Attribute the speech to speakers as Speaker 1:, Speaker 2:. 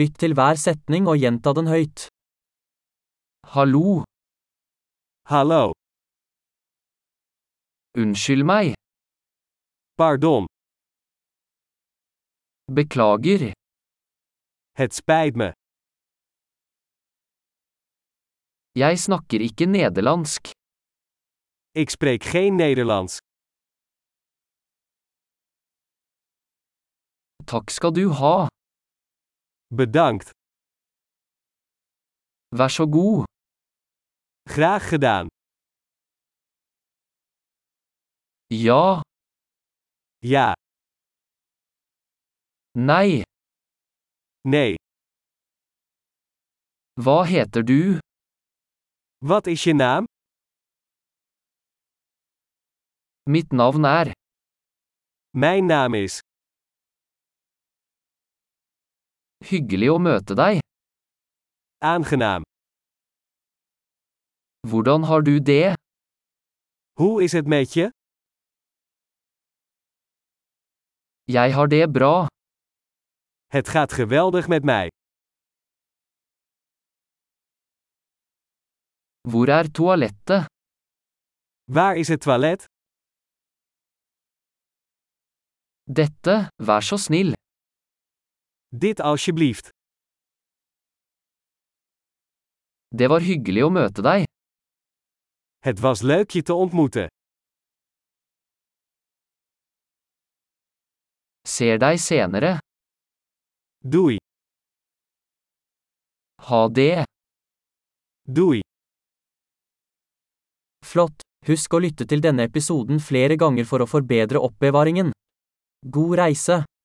Speaker 1: Lytt til hver setning og gjenta den høyt. Hallo,
Speaker 2: Hallo,
Speaker 1: unnskyld meg,
Speaker 2: pardon,
Speaker 1: beklager,
Speaker 2: het spijt me.
Speaker 1: jeg snakker ikke nederlandsk.
Speaker 2: Ik spreek geen Nederlands.
Speaker 1: Takk skal du ha,
Speaker 2: Bedankt,
Speaker 1: vær så god,
Speaker 2: graag gedaan.
Speaker 1: ja,
Speaker 2: Ja,
Speaker 1: nei,
Speaker 2: nee,
Speaker 1: hva heter du,
Speaker 2: wat is je naam?
Speaker 1: mitt navn er,
Speaker 2: Mijn naam is.
Speaker 1: hyggelig å møte deg,
Speaker 2: Aangenaam.
Speaker 1: hvordan har du det,
Speaker 2: Hoe is het met je?
Speaker 1: jeg har det bra,
Speaker 2: Het gaat geweldig met mij.
Speaker 1: hvor er toalettet,
Speaker 2: Waar is het toilet?
Speaker 1: dette, vær så snill,
Speaker 2: Dit alsjeblieft.
Speaker 1: det var hyggelig å møte deg,
Speaker 2: Het was leuk je te ontmoeten.
Speaker 1: ser deg senere,
Speaker 2: Doei,
Speaker 1: ha det.
Speaker 2: doei.
Speaker 1: Flott! Husk å lytte til denne episoden flere ganger for å forbedre oppbevaringen. God reise!